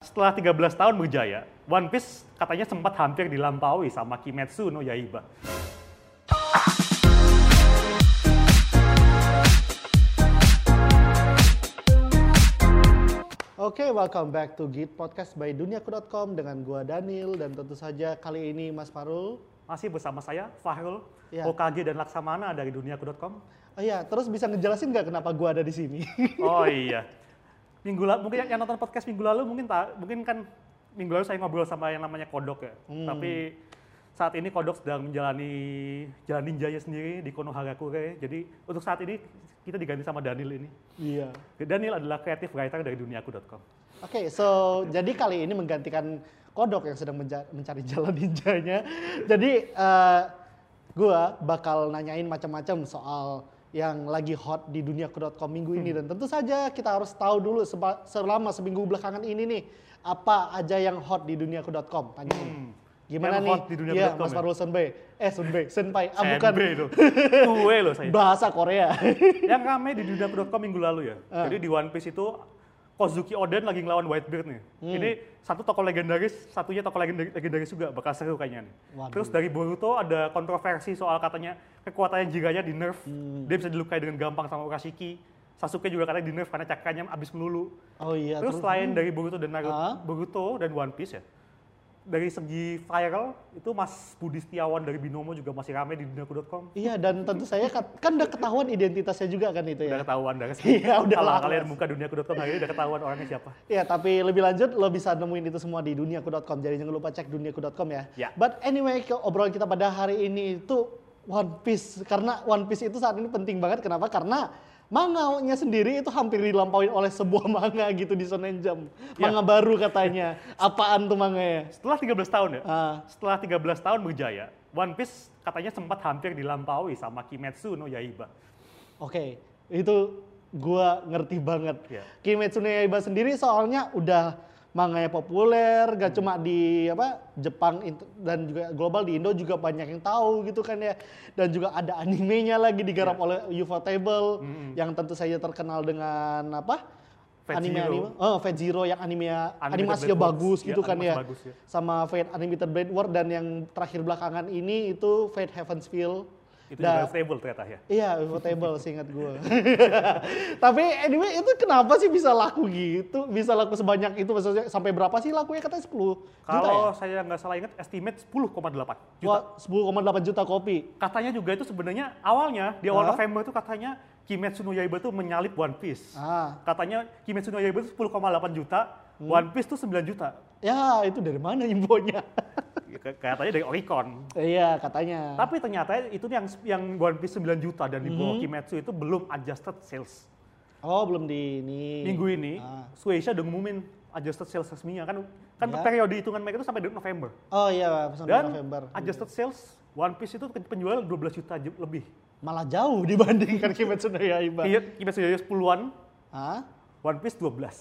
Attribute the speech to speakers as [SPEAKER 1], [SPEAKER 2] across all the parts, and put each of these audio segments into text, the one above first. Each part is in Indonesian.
[SPEAKER 1] setelah 13 tahun berjaya, One Piece katanya sempat hampir dilampaui sama Kimetsu no Yaiba.
[SPEAKER 2] Oke, welcome back to Git Podcast by Duniaku.com dengan gua Daniel dan tentu saja kali ini Mas Farul.
[SPEAKER 1] Masih bersama saya, Fahrul,
[SPEAKER 2] Iya.
[SPEAKER 1] Hokage dan Laksamana dari duniaku.com.
[SPEAKER 2] Oh iya, terus bisa ngejelasin nggak kenapa gua ada di sini?
[SPEAKER 1] Oh iya. Minggu lalu mungkin yang nonton podcast minggu lalu mungkin tak mungkin kan minggu lalu saya ngobrol sama yang namanya Kodok ya.
[SPEAKER 2] Hmm.
[SPEAKER 1] Tapi saat ini Kodok sedang menjalani jalan ninjanya sendiri di Konohagakure. Jadi untuk saat ini kita diganti sama Daniel ini.
[SPEAKER 2] Iya.
[SPEAKER 1] Daniel adalah creative writer dari duniaku.com.
[SPEAKER 2] Oke, so jadi kali ini menggantikan Kodok yang sedang menja- mencari jalan ninjanya. Jadi eh, gua bakal nanyain macam-macam soal yang lagi hot di duniaku.com minggu
[SPEAKER 1] Hmm.
[SPEAKER 2] ini dan tentu saja kita harus tahu dulu seba- selama seminggu belakangan ini nih apa aja yang hot di duniaku.com tanyain. Gimana
[SPEAKER 1] Hmm. Yang
[SPEAKER 2] nih?
[SPEAKER 1] hot di dunia
[SPEAKER 2] Iya,
[SPEAKER 1] dot com
[SPEAKER 2] Mas
[SPEAKER 1] ya?
[SPEAKER 2] Farul Senbei. Eh, Senbei, Senpai. Ah, bukan.
[SPEAKER 1] Senbei lo. Kue lo saya.
[SPEAKER 2] Bahasa Korea.
[SPEAKER 1] yang rame di dunia.com minggu lalu ya.
[SPEAKER 2] Ah.
[SPEAKER 1] Jadi di One Piece itu Kozuki Oden lagi ngelawan Whitebeard nih.
[SPEAKER 2] Hmm.
[SPEAKER 1] Ini satu tokoh legendaris, satunya tokoh legendaris, legendaris juga, bakal seru kayaknya nih.
[SPEAKER 2] Waduh.
[SPEAKER 1] Terus dari Boruto ada kontroversi soal katanya kekuatannya jiranya di nerf.
[SPEAKER 2] Hmm.
[SPEAKER 1] Dia bisa dilukai dengan gampang sama Urashiki. Sasuke juga katanya di nerf karena cakanya abis melulu.
[SPEAKER 2] oh iya,
[SPEAKER 1] Terus selain dari Boruto dan Naruto,
[SPEAKER 2] Ah.
[SPEAKER 1] Boruto dan One Piece ya. Dari segi viral itu Mas Budi Setiawan dari Binomo juga masih rame di dunia.com.
[SPEAKER 2] Iya, dan tentu saya kat- kan udah ketahuan identitasnya juga kan itu ya.
[SPEAKER 1] Udah ketahuan dari
[SPEAKER 2] Iya, udah
[SPEAKER 1] Kalau
[SPEAKER 2] lah.
[SPEAKER 1] kalian buka duniaku.com hari ini udah ketahuan orangnya siapa.
[SPEAKER 2] Ya, tapi lebih lanjut lo bisa nemuin itu semua di duniaku.com. Jadi jangan lupa cek duniaku.com ya.
[SPEAKER 1] Ya.
[SPEAKER 2] But anyway, ke obrolan kita pada hari ini itu One Piece karena One Piece itu saat ini penting banget kenapa? Karena manganya sendiri itu hampir dilampauin oleh sebuah manga gitu di Shonen Jump.
[SPEAKER 1] Ya.
[SPEAKER 2] Manga baru katanya. Apaan tuh manganya?
[SPEAKER 1] Setelah 13 tahun ya,
[SPEAKER 2] Ah,
[SPEAKER 1] setelah 13 tahun berjaya, One Piece katanya sempat hampir dilampaui sama Kimetsu no Yaiba.
[SPEAKER 2] Oke, itu gua ngerti banget.
[SPEAKER 1] Iya.
[SPEAKER 2] Kimetsu no Yaiba sendiri soalnya udah manganya populer, gak cuma di apa Jepang int- dan juga global di Indo juga banyak yang tahu gitu kan ya. Dan juga ada animenya lagi
[SPEAKER 1] Iya.
[SPEAKER 2] digarap oleh Ufotable yang tentu saja terkenal dengan apa?
[SPEAKER 1] Fate
[SPEAKER 2] anime
[SPEAKER 1] Zero.
[SPEAKER 2] anime, oh, Fate Zero yang anime
[SPEAKER 1] Animated
[SPEAKER 2] animasinya
[SPEAKER 1] Blade
[SPEAKER 2] bagus
[SPEAKER 1] Works.
[SPEAKER 2] gitu
[SPEAKER 1] Iya,
[SPEAKER 2] kan
[SPEAKER 1] animasi
[SPEAKER 2] ya.
[SPEAKER 1] bagus, ya.
[SPEAKER 2] Sama Fate Animated Blade War dan yang terakhir belakangan ini itu Fate Heaven's Feel.
[SPEAKER 1] Itu
[SPEAKER 2] Dan-
[SPEAKER 1] juga stable ternyata ya.
[SPEAKER 2] Iya, Ufotable seingat gue. Tapi anyway itu kenapa sih bisa laku gitu? Bisa laku sebanyak itu maksudnya sampai berapa sih lakunya katanya 10 juta ya?
[SPEAKER 1] Kalau saya nggak salah ingat, estimate 10,8 juta.
[SPEAKER 2] Wah, 10,8 juta kopi.
[SPEAKER 1] Katanya juga itu sebenarnya awalnya di awal
[SPEAKER 2] Hah?
[SPEAKER 1] November itu katanya Kimetsu no Yaiba tuh menyalip One Piece.
[SPEAKER 2] Ah.
[SPEAKER 1] Katanya Kimetsu no Yaiba itu 10,8 juta,
[SPEAKER 2] Hmm.
[SPEAKER 1] One Piece tuh 9 juta.
[SPEAKER 2] Ya, itu dari mana infonya?
[SPEAKER 1] Katanya dari Oricon.
[SPEAKER 2] iya, katanya.
[SPEAKER 1] Tapi ternyata itu yang yang One Piece 9 juta dan di
[SPEAKER 2] Mhm.
[SPEAKER 1] bawah Kimetsu itu belum adjusted sales.
[SPEAKER 2] oh, belum di ini.
[SPEAKER 1] Minggu ini
[SPEAKER 2] Ah.
[SPEAKER 1] Shueisha udah ngumumin adjusted sales resminya kan kan
[SPEAKER 2] Ya.
[SPEAKER 1] periode hitungan mereka itu sampai dari November.
[SPEAKER 2] Oh iya, sampai
[SPEAKER 1] Dan
[SPEAKER 2] November.
[SPEAKER 1] adjusted sales One Piece itu penjual 12 juta ju- lebih.
[SPEAKER 2] Malah jauh dibandingkan Kimetsu no Yaiba.
[SPEAKER 1] Iya, Kimetsu Yaiba 10-an,
[SPEAKER 2] Hah?
[SPEAKER 1] One Piece 12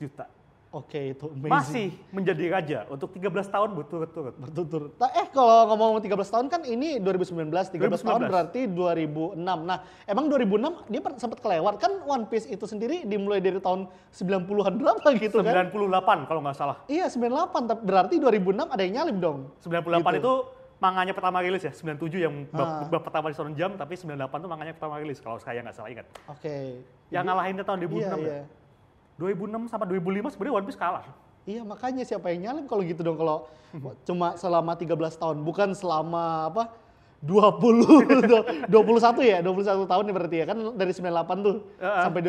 [SPEAKER 1] juta.
[SPEAKER 2] Oke, itu amazing.
[SPEAKER 1] Masih menjadi raja untuk 13 tahun berturut-turut.
[SPEAKER 2] bertutur. Ta- Eh kalau ngomong 13 tahun kan ini 2019, 13
[SPEAKER 1] 2019.
[SPEAKER 2] tahun berarti 2006. Nah, emang 2006 dia per- sempat kelewat kan One Piece itu sendiri dimulai dari tahun 90-an berapa gitu kan?
[SPEAKER 1] 98 kalau nggak salah.
[SPEAKER 2] Iya, 98 tapi berarti 2006 ada yang nyalip dong.
[SPEAKER 1] 98
[SPEAKER 2] Gitu.
[SPEAKER 1] itu manganya pertama rilis ya, 97 yang
[SPEAKER 2] Ah.
[SPEAKER 1] bab, bab pertama di Shonen Jump, tapi 98 tuh manganya pertama rilis kalau saya nggak salah ingat.
[SPEAKER 2] Oke.
[SPEAKER 1] Yang ngalahinnya tahun 2006
[SPEAKER 2] Iya,
[SPEAKER 1] ya.
[SPEAKER 2] iya.
[SPEAKER 1] 2006 sama 2005 sebenarnya One Piece kalah.
[SPEAKER 2] Iya, makanya siapa yang nyalip kalau gitu dong kalau cuma selama 13 tahun, bukan selama apa? 20 21 ya, 21 tahun ya berarti ya kan dari 98 tuh
[SPEAKER 1] Heeh.
[SPEAKER 2] sampai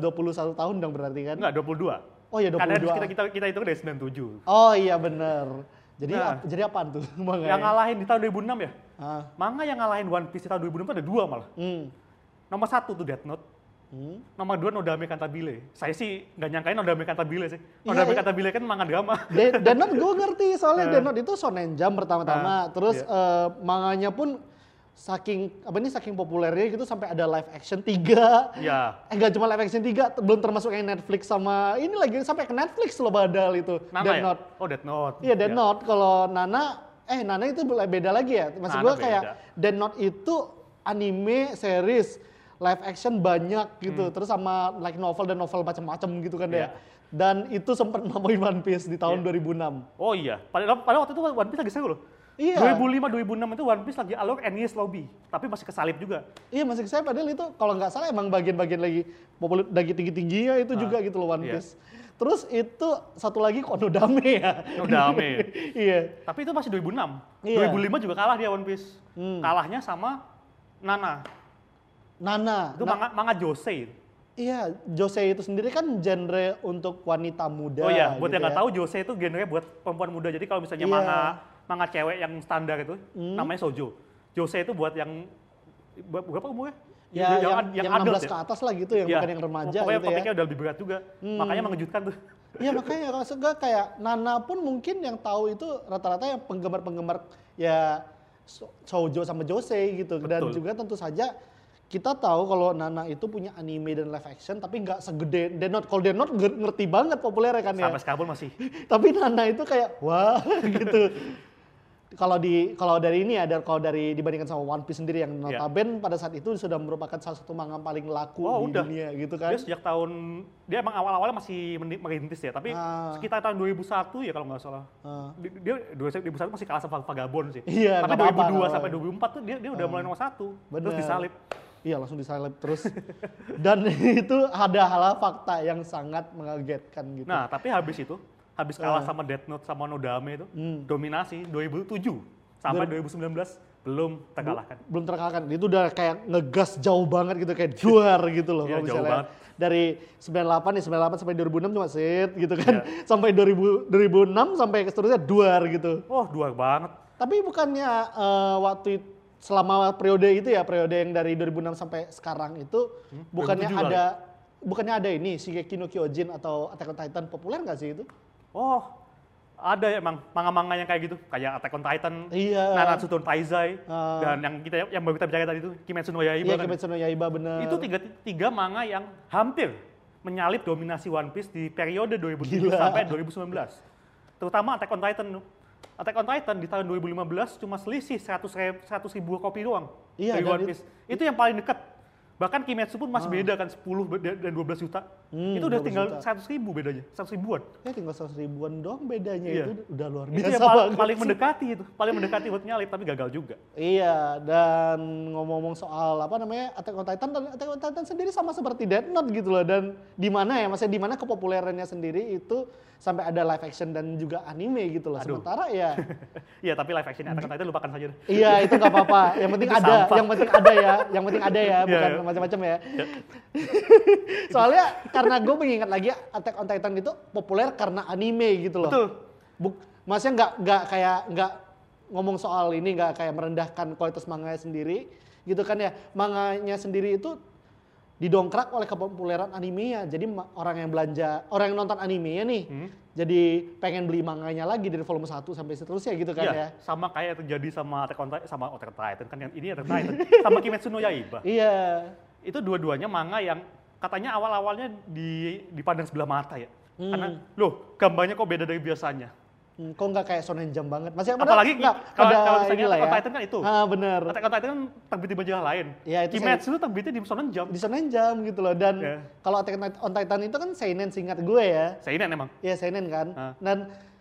[SPEAKER 2] 2019 21 tahun dong berarti kan.
[SPEAKER 1] Enggak, 22.
[SPEAKER 2] Oh iya
[SPEAKER 1] Karena
[SPEAKER 2] 22.
[SPEAKER 1] kita kita kita hitung dari 97.
[SPEAKER 2] Oh iya bener. Jadi
[SPEAKER 1] Nah.
[SPEAKER 2] ap- jadi apaan tuh manganya?
[SPEAKER 1] Yang ngalahin di tahun 2006 ya?
[SPEAKER 2] Ah,
[SPEAKER 1] Manga yang ngalahin One Piece di tahun 2006 tuh ada dua malah.
[SPEAKER 2] hmm.
[SPEAKER 1] Nomor satu tuh Death Note.
[SPEAKER 2] Hmm.
[SPEAKER 1] Nomor dua Nodame Cantabile. Saya sih nggak nyangkain Nodame Cantabile sih.
[SPEAKER 2] Iya,
[SPEAKER 1] Nodame
[SPEAKER 2] iya.
[SPEAKER 1] Cantabile kan manga drama.
[SPEAKER 2] De- Death Note gue ngerti soalnya Death Note itu shonen jump
[SPEAKER 1] Ah,
[SPEAKER 2] pertama-tama. Terus
[SPEAKER 1] Nah. iya.
[SPEAKER 2] eh, manganya pun saking apa ini saking populernya gitu sampai ada live action 3.
[SPEAKER 1] ya.
[SPEAKER 2] Eh gak cuma live action 3, t- belum termasuk yang Netflix sama ini lagi sampai ke Netflix loh badal itu.
[SPEAKER 1] Nana
[SPEAKER 2] Death
[SPEAKER 1] ya?
[SPEAKER 2] Note.
[SPEAKER 1] Oh, Death Note.
[SPEAKER 2] Iya Death Note kalau Nana eh Nana itu be- beda lagi ya.
[SPEAKER 1] Nana
[SPEAKER 2] Maksud gua kayak
[SPEAKER 1] beda.
[SPEAKER 2] Death Note itu anime series live action banyak gitu. Terus sama like novel dan novel macam-macam gitu kan
[SPEAKER 1] Hmm. Iya.
[SPEAKER 2] ya. dan itu sempat memakai One Piece di tahun 2006.
[SPEAKER 1] Oh iya, padahal, padahal waktu itu One Piece lagi seru loh.
[SPEAKER 2] Iya.
[SPEAKER 1] 2005 2006 itu One Piece lagi alur NES lobby, tapi masih kesalip juga.
[SPEAKER 2] Iya masih saya padahal itu kalau nggak salah emang bagian-bagian lagi populer lagi tinggi-tingginya itu juga gitu loh One
[SPEAKER 1] iya.
[SPEAKER 2] Piece. Terus itu satu lagi Konodame ya.
[SPEAKER 1] Konodame.
[SPEAKER 2] iya.
[SPEAKER 1] Tapi itu masih 2006.
[SPEAKER 2] Iya. Hmm.
[SPEAKER 1] 2005 juga kalah dia One Piece. Kalahnya sama Nana.
[SPEAKER 2] Nana.
[SPEAKER 1] Itu
[SPEAKER 2] Na-
[SPEAKER 1] manga, manga Jose. itu.
[SPEAKER 2] iya, Jose itu sendiri kan genre untuk wanita muda.
[SPEAKER 1] oh iya, buat
[SPEAKER 2] gitu
[SPEAKER 1] yang nggak
[SPEAKER 2] ya.
[SPEAKER 1] tahu Jose itu genrenya buat perempuan muda. Jadi kalau misalnya
[SPEAKER 2] Iya. Hmm.
[SPEAKER 1] manga manga cewek yang standar itu namanya Sojo. Jose itu buat yang buat- berapa umurnya?
[SPEAKER 2] Ya, yang, yang,
[SPEAKER 1] adult
[SPEAKER 2] 16 ke atas lah gitu, yang
[SPEAKER 1] Iya.
[SPEAKER 2] bukan yang remaja
[SPEAKER 1] Pokoknya
[SPEAKER 2] gitu ya. Hmm.
[SPEAKER 1] topiknya udah lebih berat juga. Makanya mengejutkan tuh.
[SPEAKER 2] Iya makanya rasa gue kayak Nana pun mungkin yang tahu itu rata-rata yang penggemar-penggemar ya so- Shoujo sama Jose gitu dan
[SPEAKER 1] Betul.
[SPEAKER 2] juga tentu saja kita tahu kalau Nana itu punya anime dan live action tapi nggak segede Death Note. Kalau Death Note nger- ngerti banget populernya kan ya.
[SPEAKER 1] Sampai sekarang pun masih.
[SPEAKER 2] Tapi Nana itu kayak wah gitu. Kalau di kalau dari ini ada kalau dari dibandingkan sama One Piece sendiri yang
[SPEAKER 1] Iya.
[SPEAKER 2] notaben pada saat itu sudah merupakan salah satu manga paling laku
[SPEAKER 1] Wah,
[SPEAKER 2] di
[SPEAKER 1] udah.
[SPEAKER 2] dunia gitu kan.
[SPEAKER 1] Dia sejak tahun dia emang awal-awalnya masih meni- merintis ya, tapi
[SPEAKER 2] Ah.
[SPEAKER 1] sekitar tahun 2001 ya kalau nggak salah.
[SPEAKER 2] Ah.
[SPEAKER 1] Di- Dia 2001 masih kalah sama Vagabond sih.
[SPEAKER 2] Iya,
[SPEAKER 1] tapi
[SPEAKER 2] nggak apa-apa,
[SPEAKER 1] 2002
[SPEAKER 2] nggak
[SPEAKER 1] sampai 2004 tuh dia dia udah mulai nomor satu. Terus
[SPEAKER 2] Bener.
[SPEAKER 1] disalip.
[SPEAKER 2] Iya langsung disalib terus. Dan itu ada hal fakta yang sangat mengagetkan gitu.
[SPEAKER 1] Nah, tapi habis itu habis
[SPEAKER 2] Ah.
[SPEAKER 1] kalah sama Death Note sama Nodame itu
[SPEAKER 2] Hmm.
[SPEAKER 1] dominasi 2007 sampai 2019 belum terkalahkan.
[SPEAKER 2] Belum terkalahkan. Itu udah kayak ngegas jauh banget gitu kayak duar gitu loh
[SPEAKER 1] Iya,
[SPEAKER 2] kalau
[SPEAKER 1] jauh
[SPEAKER 2] misalnya.
[SPEAKER 1] banget.
[SPEAKER 2] Dari 98 nih 98 sampai 2006 cuma sit gitu kan.
[SPEAKER 1] Iya.
[SPEAKER 2] Sampai 2000, 2006 sampai seterusnya duar gitu.
[SPEAKER 1] Oh, dua banget.
[SPEAKER 2] Tapi bukannya eh, waktu it- selama periode itu ya, periode yang dari 2006 sampai sekarang itu
[SPEAKER 1] Hmm,
[SPEAKER 2] bukannya
[SPEAKER 1] 2007 kali.
[SPEAKER 2] ada bukannya ada ini Shingeki no Kyojin atau Attack on Titan populer nggak sih itu?
[SPEAKER 1] Oh, ada ya emang manga-manga yang kayak gitu, kayak Attack on Titan,
[SPEAKER 2] Iya.
[SPEAKER 1] Nanatsu no Taizai,
[SPEAKER 2] Ah.
[SPEAKER 1] dan yang kita yang baru kita bicara tadi itu Kimetsu no Yaiba.
[SPEAKER 2] Iya
[SPEAKER 1] kan?
[SPEAKER 2] Kimetsu no Yaiba bener.
[SPEAKER 1] Itu tiga, tiga manga yang hampir menyalip dominasi One Piece di periode 2007
[SPEAKER 2] Gila.
[SPEAKER 1] sampai 2019. Terutama Attack on Titan. Attack on Titan di tahun 2015 cuma selisih 100, re- 100 ribu kopi doang
[SPEAKER 2] Iya,
[SPEAKER 1] dari
[SPEAKER 2] dan
[SPEAKER 1] One
[SPEAKER 2] it- Ah.
[SPEAKER 1] Piece. Itu yang paling dekat. Bahkan Kimetsu pun masih beda kan 10 be- dan 12 juta.
[SPEAKER 2] Hmm,
[SPEAKER 1] itu udah
[SPEAKER 2] 12
[SPEAKER 1] tinggal
[SPEAKER 2] juta.
[SPEAKER 1] 100 ribu bedanya, 100 ribuan.
[SPEAKER 2] Ya tinggal 100 ribuan doang bedanya
[SPEAKER 1] Iya.
[SPEAKER 2] itu udah luar
[SPEAKER 1] Itu
[SPEAKER 2] biasa
[SPEAKER 1] yang paling,
[SPEAKER 2] banget.
[SPEAKER 1] paling mendekati itu, paling mendekati buat nyalip tapi gagal juga.
[SPEAKER 2] Iya, dan ngomong-ngomong soal apa namanya Attack on Titan, dan Attack on Titan sendiri sama seperti Death Note gitu loh. Dan di mana ya, maksudnya di mana kepopulerannya sendiri itu sampai ada live action dan juga anime gitu loh.
[SPEAKER 1] Aduh.
[SPEAKER 2] Sementara ya,
[SPEAKER 1] Iya, tapi live action Attack on Titan lupakan saja. deh.
[SPEAKER 2] iya itu nggak apa-apa. Yang penting
[SPEAKER 1] Itu
[SPEAKER 2] ada,
[SPEAKER 1] sampah.
[SPEAKER 2] yang penting ada ya, yang penting ada ya, bukan
[SPEAKER 1] iya.
[SPEAKER 2] macam-macam ya. Soalnya karena gue mengingat lagi Attack on Titan itu populer karena anime gitu loh.
[SPEAKER 1] Betul.
[SPEAKER 2] Buk, maksudnya nggak nggak kayak nggak ngomong soal ini nggak kayak merendahkan kualitas manganya sendiri gitu kan ya manganya sendiri itu didongkrak oleh kepopuleran animenya jadi ma- orang yang belanja orang yang nonton animenya nih
[SPEAKER 1] Hmm.
[SPEAKER 2] jadi pengen beli manganya lagi dari volume 1 sampai seterusnya gitu kan ya
[SPEAKER 1] Iya, sama kayak yang terjadi sama Attack on Titan, sama Attack on Titan kan yang ini Attack on Titan, sama Kimetsu no Yaiba.
[SPEAKER 2] iya
[SPEAKER 1] Itu dua-duanya manga yang katanya awal-awalnya di dipandang sebelah mata ya. Karena loh, gambarnya kok beda dari biasanya.
[SPEAKER 2] Hmm, kok nggak kayak Shonen Jump banget masih
[SPEAKER 1] Apalagi
[SPEAKER 2] nggak,
[SPEAKER 1] kalau-
[SPEAKER 2] ada
[SPEAKER 1] kalau misalnya
[SPEAKER 2] inilah
[SPEAKER 1] Attack on
[SPEAKER 2] ya.
[SPEAKER 1] Titan kan itu.
[SPEAKER 2] ah bener
[SPEAKER 1] Attack on Titan kan terbit di majalah lain.
[SPEAKER 2] Iya, itu
[SPEAKER 1] Kimetsu itu terbitnya di Shonen Jump.
[SPEAKER 2] di Shonen Jump gitu loh dan
[SPEAKER 1] Iya.
[SPEAKER 2] kalau Attack on Titan itu kan seinen singkat gue ya
[SPEAKER 1] Seinen emang.
[SPEAKER 2] Iya seinen kan.
[SPEAKER 1] Ah.
[SPEAKER 2] Dan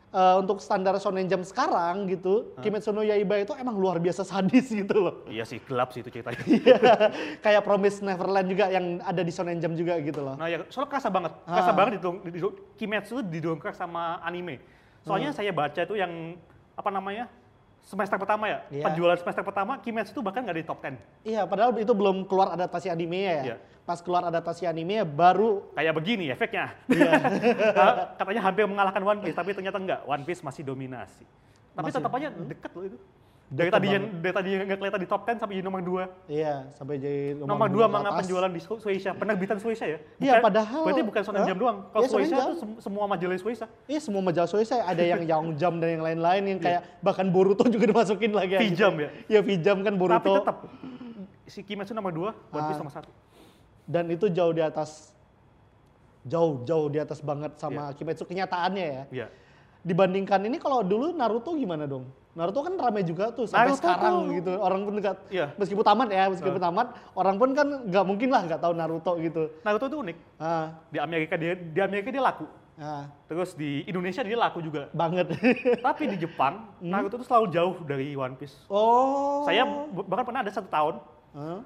[SPEAKER 2] eh, untuk standar shonen jam sekarang gitu,
[SPEAKER 1] Ah.
[SPEAKER 2] Kimetsu no Yaiba itu emang luar biasa sadis gitu loh.
[SPEAKER 1] Iya sih, gelap sih itu ceritanya.
[SPEAKER 2] Iya. Kayak Promise Neverland juga yang ada di shonen jam juga gitu loh.
[SPEAKER 1] Nah, ya soalnya kerasa banget. Kerasa
[SPEAKER 2] Ah.
[SPEAKER 1] banget di, di, di Kimetsu itu didongkrak sama anime. Soalnya
[SPEAKER 2] Hmm.
[SPEAKER 1] saya baca itu yang apa namanya? semester pertama ya.
[SPEAKER 2] Iya.
[SPEAKER 1] Penjualan semester pertama Kimetsu itu bahkan nggak di top 10.
[SPEAKER 2] Iya, padahal itu belum keluar adaptasi anime ya.
[SPEAKER 1] Iya.
[SPEAKER 2] Pas keluar adaptasi anime ya baru
[SPEAKER 1] Kayak begini efeknya.
[SPEAKER 2] Iya.
[SPEAKER 1] Nah, Katanya hampir mengalahkan One Piece, tapi ternyata enggak. One Piece masih dominasi. Tapi tetap aja deket loh itu. Dari
[SPEAKER 2] Deket
[SPEAKER 1] tadi yang dari tadi yang nggak kelihatan di top 10 sampai jadi nomor 2.
[SPEAKER 2] iya sampai jadi
[SPEAKER 1] Nomor 2
[SPEAKER 2] ke
[SPEAKER 1] manga
[SPEAKER 2] atas.
[SPEAKER 1] penjualan di Su- Shueisha, penerbitan Shueisha ya.
[SPEAKER 2] Iya,
[SPEAKER 1] Bukan-
[SPEAKER 2] padahal-
[SPEAKER 1] Berarti bukan Shonen
[SPEAKER 2] Hah?
[SPEAKER 1] Jump doang. Kalau
[SPEAKER 2] Iya, Shonen
[SPEAKER 1] Shueisha
[SPEAKER 2] Jump.
[SPEAKER 1] itu sem- semua majalah Shueisha.
[SPEAKER 2] Iya, semua majalah saya ada yang Young Jump dan yang lain-lain yang kayak bahkan Boruto juga dimasukin lagi.
[SPEAKER 1] Iya.
[SPEAKER 2] aja.
[SPEAKER 1] Vijam ya?
[SPEAKER 2] Iya, Vijam kan Boruto.
[SPEAKER 1] Tapi tetap si Kimetsu nomor 2, One Piece
[SPEAKER 2] Ah.
[SPEAKER 1] nomor 1.
[SPEAKER 2] dan itu jauh di atas jauh jauh di atas banget sama Kimetsu kenyataannya ya.
[SPEAKER 1] Iya.
[SPEAKER 2] Dibandingkan ini kalau dulu Naruto gimana dong? Naruto kan rame juga tuh sampai
[SPEAKER 1] Naruto
[SPEAKER 2] sekarang
[SPEAKER 1] tuh-
[SPEAKER 2] gitu. Orang pun nggak
[SPEAKER 1] Iya.
[SPEAKER 2] meskipun tamat ya, meskipun tamat, orang pun kan nggak mungkin lah nggak tahu Naruto gitu.
[SPEAKER 1] Naruto itu unik.
[SPEAKER 2] Ah,
[SPEAKER 1] Di Amerika dia di Amerika dia laku.
[SPEAKER 2] Ah,
[SPEAKER 1] Terus di Indonesia dia laku juga.
[SPEAKER 2] banget.
[SPEAKER 1] Tapi di Jepang
[SPEAKER 2] Hmm?
[SPEAKER 1] Naruto itu selalu jauh dari One Piece.
[SPEAKER 2] oh.
[SPEAKER 1] Saya b- bahkan pernah ada satu tahun
[SPEAKER 2] Hah?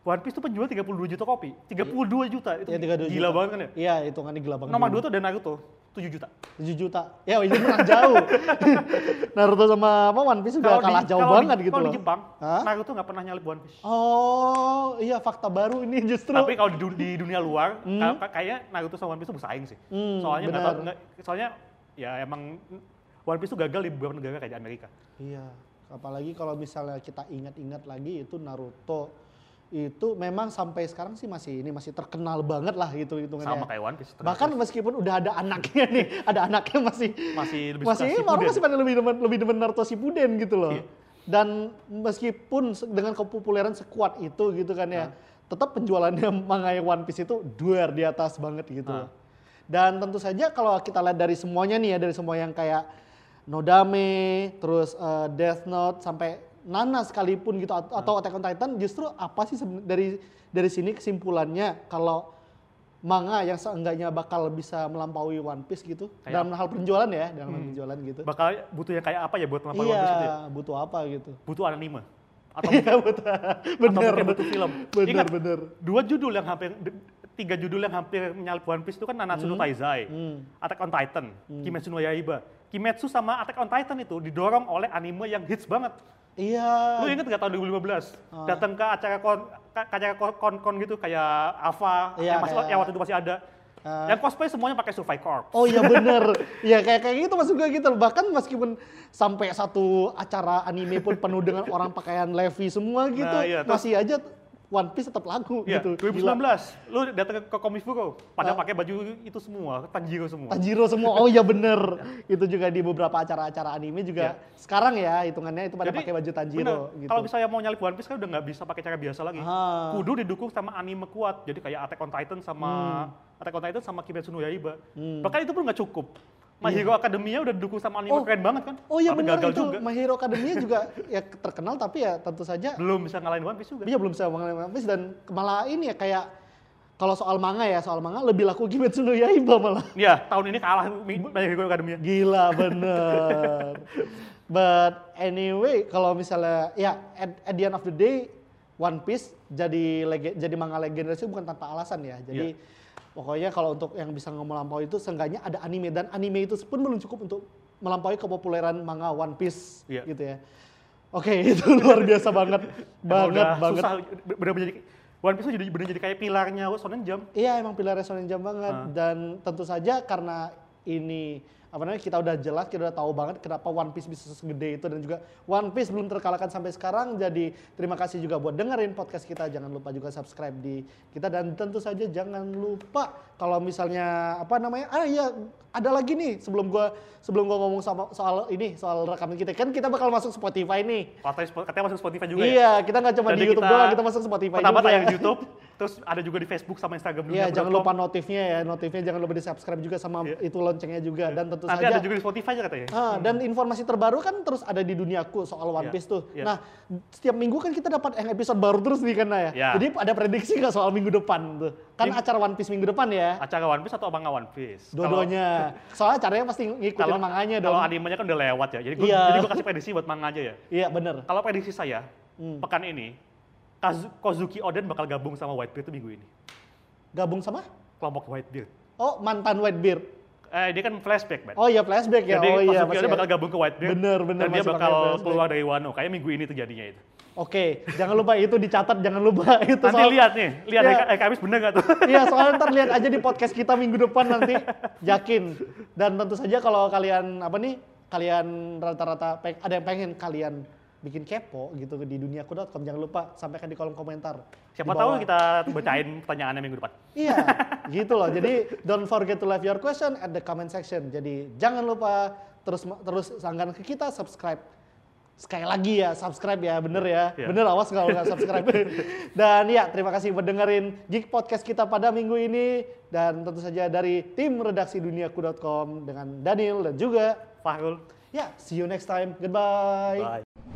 [SPEAKER 1] One Piece itu penjual 32 juta kopi. 32 juta itu
[SPEAKER 2] Ya, 32
[SPEAKER 1] gila
[SPEAKER 2] juta.
[SPEAKER 1] banget kan ya.
[SPEAKER 2] Iya, hitungannya gila banget.
[SPEAKER 1] Nomor 2 tuh ada Naruto 7 juta.
[SPEAKER 2] 7 juta. Ya, itu mah jauh. Naruto sama apa One Piece udah
[SPEAKER 1] di-
[SPEAKER 2] kalah jauh
[SPEAKER 1] kalau di-
[SPEAKER 2] banget gitu
[SPEAKER 1] Kalau
[SPEAKER 2] loh.
[SPEAKER 1] di Jepang
[SPEAKER 2] Hah?
[SPEAKER 1] Naruto nggak pernah nyalip One Piece.
[SPEAKER 2] Oh, iya fakta baru ini justru.
[SPEAKER 1] Tapi kalau di, du- di dunia luar, kayak kayaknya Naruto sama One Piece tuh bersaing sih.
[SPEAKER 2] Hmm,
[SPEAKER 1] soalnya nggak
[SPEAKER 2] benar.
[SPEAKER 1] tahu- nggak- soalnya ya emang One Piece tuh gagal di beberapa negara kayak di Amerika.
[SPEAKER 2] Iya, apalagi kalau misalnya kita ingat-ingat lagi itu Naruto itu memang sampai sekarang sih masih ini masih terkenal banget lah gitu
[SPEAKER 1] Sama
[SPEAKER 2] hitungannya.
[SPEAKER 1] kayak One Piece. ternyata.
[SPEAKER 2] Bahkan meskipun udah ada anaknya nih, ada anaknya masih
[SPEAKER 1] masih lebih
[SPEAKER 2] masih
[SPEAKER 1] suka
[SPEAKER 2] ini
[SPEAKER 1] Shippuden.
[SPEAKER 2] orang masih pada lebih demen, lebih demen Naruto Shippuden gitu loh.
[SPEAKER 1] Iya.
[SPEAKER 2] Dan meskipun se- dengan kepopuleran sekuat itu gitu kan ya, tetap penjualannya manga yang One Piece itu duer di atas banget gitu.
[SPEAKER 1] Nah.
[SPEAKER 2] loh. Dan tentu saja kalau kita lihat dari semuanya nih ya, dari semua yang kayak Nodame, terus eh, Death Note sampai Nana sekalipun gitu at- atau Attack on Titan justru apa sih seben- dari dari sini kesimpulannya kalau manga yang seenggaknya bakal bisa melampaui One Piece gitu
[SPEAKER 1] Kayak Hmm.
[SPEAKER 2] dalam hal penjualan ya dalam hal penjualan gitu
[SPEAKER 1] Bakal butuh yang kayak apa ya buat melampaui One Piece itu ya?
[SPEAKER 2] iya butuh apa gitu
[SPEAKER 1] Butuh anime. Atau,
[SPEAKER 2] iya butuh bener
[SPEAKER 1] atau mungkin butuh film.
[SPEAKER 2] bener
[SPEAKER 1] Ingat,
[SPEAKER 2] bener
[SPEAKER 1] dua judul yang hampir, d- tiga judul yang hampir menyalip One Piece itu kan Nanatsu
[SPEAKER 2] Hmm.
[SPEAKER 1] no Taizai, Attack on Titan, Kimetsu no Yaiba. Kimetsu sama Attack on Titan itu didorong oleh anime yang hits banget.
[SPEAKER 2] iya
[SPEAKER 1] Lu inget nggak tahun 2015?
[SPEAKER 2] Ah.
[SPEAKER 1] Datang ke acara kon ke ke acara kon- kon-kon gitu kayak Ava
[SPEAKER 2] Iya,
[SPEAKER 1] yang, masih,
[SPEAKER 2] kayak-
[SPEAKER 1] yang waktu itu masih ada.
[SPEAKER 2] Ah.
[SPEAKER 1] Yang cosplay semuanya pakai Survey Corps.
[SPEAKER 2] Oh iya bener, ya kayak kayak gitu maksud gue gitu. Bahkan meskipun sampai satu acara anime pun penuh dengan orang pakaian Levi semua gitu,
[SPEAKER 1] Nah, iya, terus-
[SPEAKER 2] masih aja One Piece tetap laku
[SPEAKER 1] Iya,
[SPEAKER 2] gitu.
[SPEAKER 1] 2019.
[SPEAKER 2] Gila. Ah.
[SPEAKER 1] Lu datang ke, ke Komifuro, pada pakai baju itu semua, Tanjiro semua.
[SPEAKER 2] Tanjiro semua, oh iya bener. itu juga di beberapa acara-acara anime juga. Sekarang ya hitungannya itu pada
[SPEAKER 1] Iya. Jadi,
[SPEAKER 2] pakai baju Tanjiro
[SPEAKER 1] bener,
[SPEAKER 2] gitu.
[SPEAKER 1] Kalau misalnya mau nyalip One Piece kan udah nggak bisa pakai cara biasa lagi.
[SPEAKER 2] Ah.
[SPEAKER 1] Kudu didukung sama anime kuat. Jadi kayak Attack on Titan sama
[SPEAKER 2] Hmm.
[SPEAKER 1] Attack on Titan sama Kimetsu no Yaiba. Bahkan itu pun nggak cukup. My Hero Academia udah didukung sama anime
[SPEAKER 2] Iya. Oh.
[SPEAKER 1] keren banget kan.
[SPEAKER 2] Oh iya
[SPEAKER 1] Tapi
[SPEAKER 2] bener
[SPEAKER 1] gagal
[SPEAKER 2] itu,
[SPEAKER 1] juga.
[SPEAKER 2] My Hero Academia juga ya terkenal tapi ya tentu saja
[SPEAKER 1] Belum bisa ngalahin One Piece juga.
[SPEAKER 2] Iya belum saya mengenai One Piece dan malah ini ya kayak kalau soal manga ya soal manga lebih laku Kimetsu no Yaiba ya, malah.
[SPEAKER 1] Iya, tahun ini kalah Mi- My Hero Academia.
[SPEAKER 2] Gila bener. But anyway kalau misalnya ya at, at the end of the day One Piece jadi lege- jadi manga legendaris itu bukan tanpa alasan
[SPEAKER 1] Iya.
[SPEAKER 2] ya. Jadi pokoknya kalau untuk yang bisa melampaui itu seenggaknya ada anime dan anime itu pun belum cukup untuk melampaui kepopuleran manga One Piece
[SPEAKER 1] Iya.
[SPEAKER 2] gitu ya. Oke, itu luar biasa banget.
[SPEAKER 1] Emang
[SPEAKER 2] banget
[SPEAKER 1] udah
[SPEAKER 2] banget.
[SPEAKER 1] Susah, bener- bener jadi One Piece tuh jadi bener jadi kayak pilarnya Shonen Jump.
[SPEAKER 2] Iya emang pilar restoran jam banget dan tentu saja karena ini apa namanya kita udah jelas kita udah tahu banget kenapa One Piece bisa segede itu dan juga One Piece belum terkalahkan sampai sekarang jadi terima kasih juga buat dengerin podcast kita jangan lupa juga subscribe di kita dan tentu saja jangan lupa kalau misalnya apa namanya ah iya ada lagi nih sebelum gua sebelum gua ngomong sama soal ini soal rekaman kita kan kita bakal masuk Spotify nih
[SPEAKER 1] Katanya, Spo- katanya masuk Spotify juga ya.
[SPEAKER 2] iya kita nggak cuma
[SPEAKER 1] Jadi
[SPEAKER 2] di YouTube doang kita masuk Spotify
[SPEAKER 1] Pertama
[SPEAKER 2] juga.
[SPEAKER 1] tayang di YouTube, terus ada juga di Facebook sama Instagram
[SPEAKER 2] Iya,
[SPEAKER 1] dunia.com.
[SPEAKER 2] jangan lupa notifnya ya, notifnya jangan lupa di subscribe juga sama
[SPEAKER 1] Iya.
[SPEAKER 2] itu loncengnya juga dan tentu
[SPEAKER 1] Nanti
[SPEAKER 2] saja.
[SPEAKER 1] ada juga di Spotify aja katanya.
[SPEAKER 2] Ah, dan informasi terbaru kan terus ada di duniaku soal One
[SPEAKER 1] Iya,
[SPEAKER 2] Piece tuh.
[SPEAKER 1] iya.
[SPEAKER 2] Nah, setiap minggu kan kita dapat yang episode baru terus nih kan ya.
[SPEAKER 1] Iya.
[SPEAKER 2] Jadi ada prediksi nggak soal minggu depan tuh? Kan acara One Piece minggu depan ya.
[SPEAKER 1] Acara One Piece atau Abang One Piece?
[SPEAKER 2] Dua-duanya. Soalnya acaranya pasti ngikutin
[SPEAKER 1] Kalau-
[SPEAKER 2] manganya dong.
[SPEAKER 1] Kalau animenya kan udah lewat ya. Jadi gue
[SPEAKER 2] Iya.
[SPEAKER 1] jadi gua kasih prediksi buat manga aja ya.
[SPEAKER 2] Iya, bener.
[SPEAKER 1] Kalau prediksi saya
[SPEAKER 2] Hmm.
[SPEAKER 1] pekan ini Kazu- Kozuki Oden bakal gabung sama Whitebeard tuh minggu ini.
[SPEAKER 2] Gabung sama?
[SPEAKER 1] Kelompok Whitebeard.
[SPEAKER 2] Oh, mantan Whitebeard.
[SPEAKER 1] Eh dia kan flashback, Bat.
[SPEAKER 2] Oh iya, flashback ya.
[SPEAKER 1] Jadi
[SPEAKER 2] oh iya,
[SPEAKER 1] Kozuki Oden
[SPEAKER 2] masih-
[SPEAKER 1] bakal gabung ke Whitebeard.
[SPEAKER 2] Bener, bener,
[SPEAKER 1] Dan dia
[SPEAKER 2] masih
[SPEAKER 1] bakal
[SPEAKER 2] pakai flashback.
[SPEAKER 1] keluar dari Wano. Kayaknya minggu ini terjadinya itu.
[SPEAKER 2] Oke, jangan lupa itu dicatat, jangan lupa itu
[SPEAKER 1] Nanti
[SPEAKER 2] soal
[SPEAKER 1] lihat nih, lihat
[SPEAKER 2] Iya.
[SPEAKER 1] ya. eh, Kamis bener nggak tuh?
[SPEAKER 2] Iya, soalnya ntar lihat aja di podcast kita minggu depan nanti, yakin. Dan tentu saja kalau kalian apa nih, kalian rata-rata peng- ada yang pengen kalian bikin kepo gitu di duniaku.com jangan lupa sampaikan di kolom komentar.
[SPEAKER 1] Siapa
[SPEAKER 2] Di
[SPEAKER 1] tahu
[SPEAKER 2] bawah.
[SPEAKER 1] kita bacain pertanyaannya minggu depan.
[SPEAKER 2] Iya, gitu loh. Jadi don't forget to leave your question at the comment section. Jadi jangan lupa terus terus sanggan ke kita subscribe. Sekali lagi ya, subscribe ya, bener ya.
[SPEAKER 1] Iya.
[SPEAKER 2] Bener, awas kalau nggak subscribe. dan ya, terima kasih buat dengerin Geek Podcast kita pada minggu ini. Dan tentu saja dari tim redaksi duniaku.com dengan Daniel dan juga.
[SPEAKER 1] Fahrul.
[SPEAKER 2] Ya, see you next time. Goodbye.
[SPEAKER 1] Bye.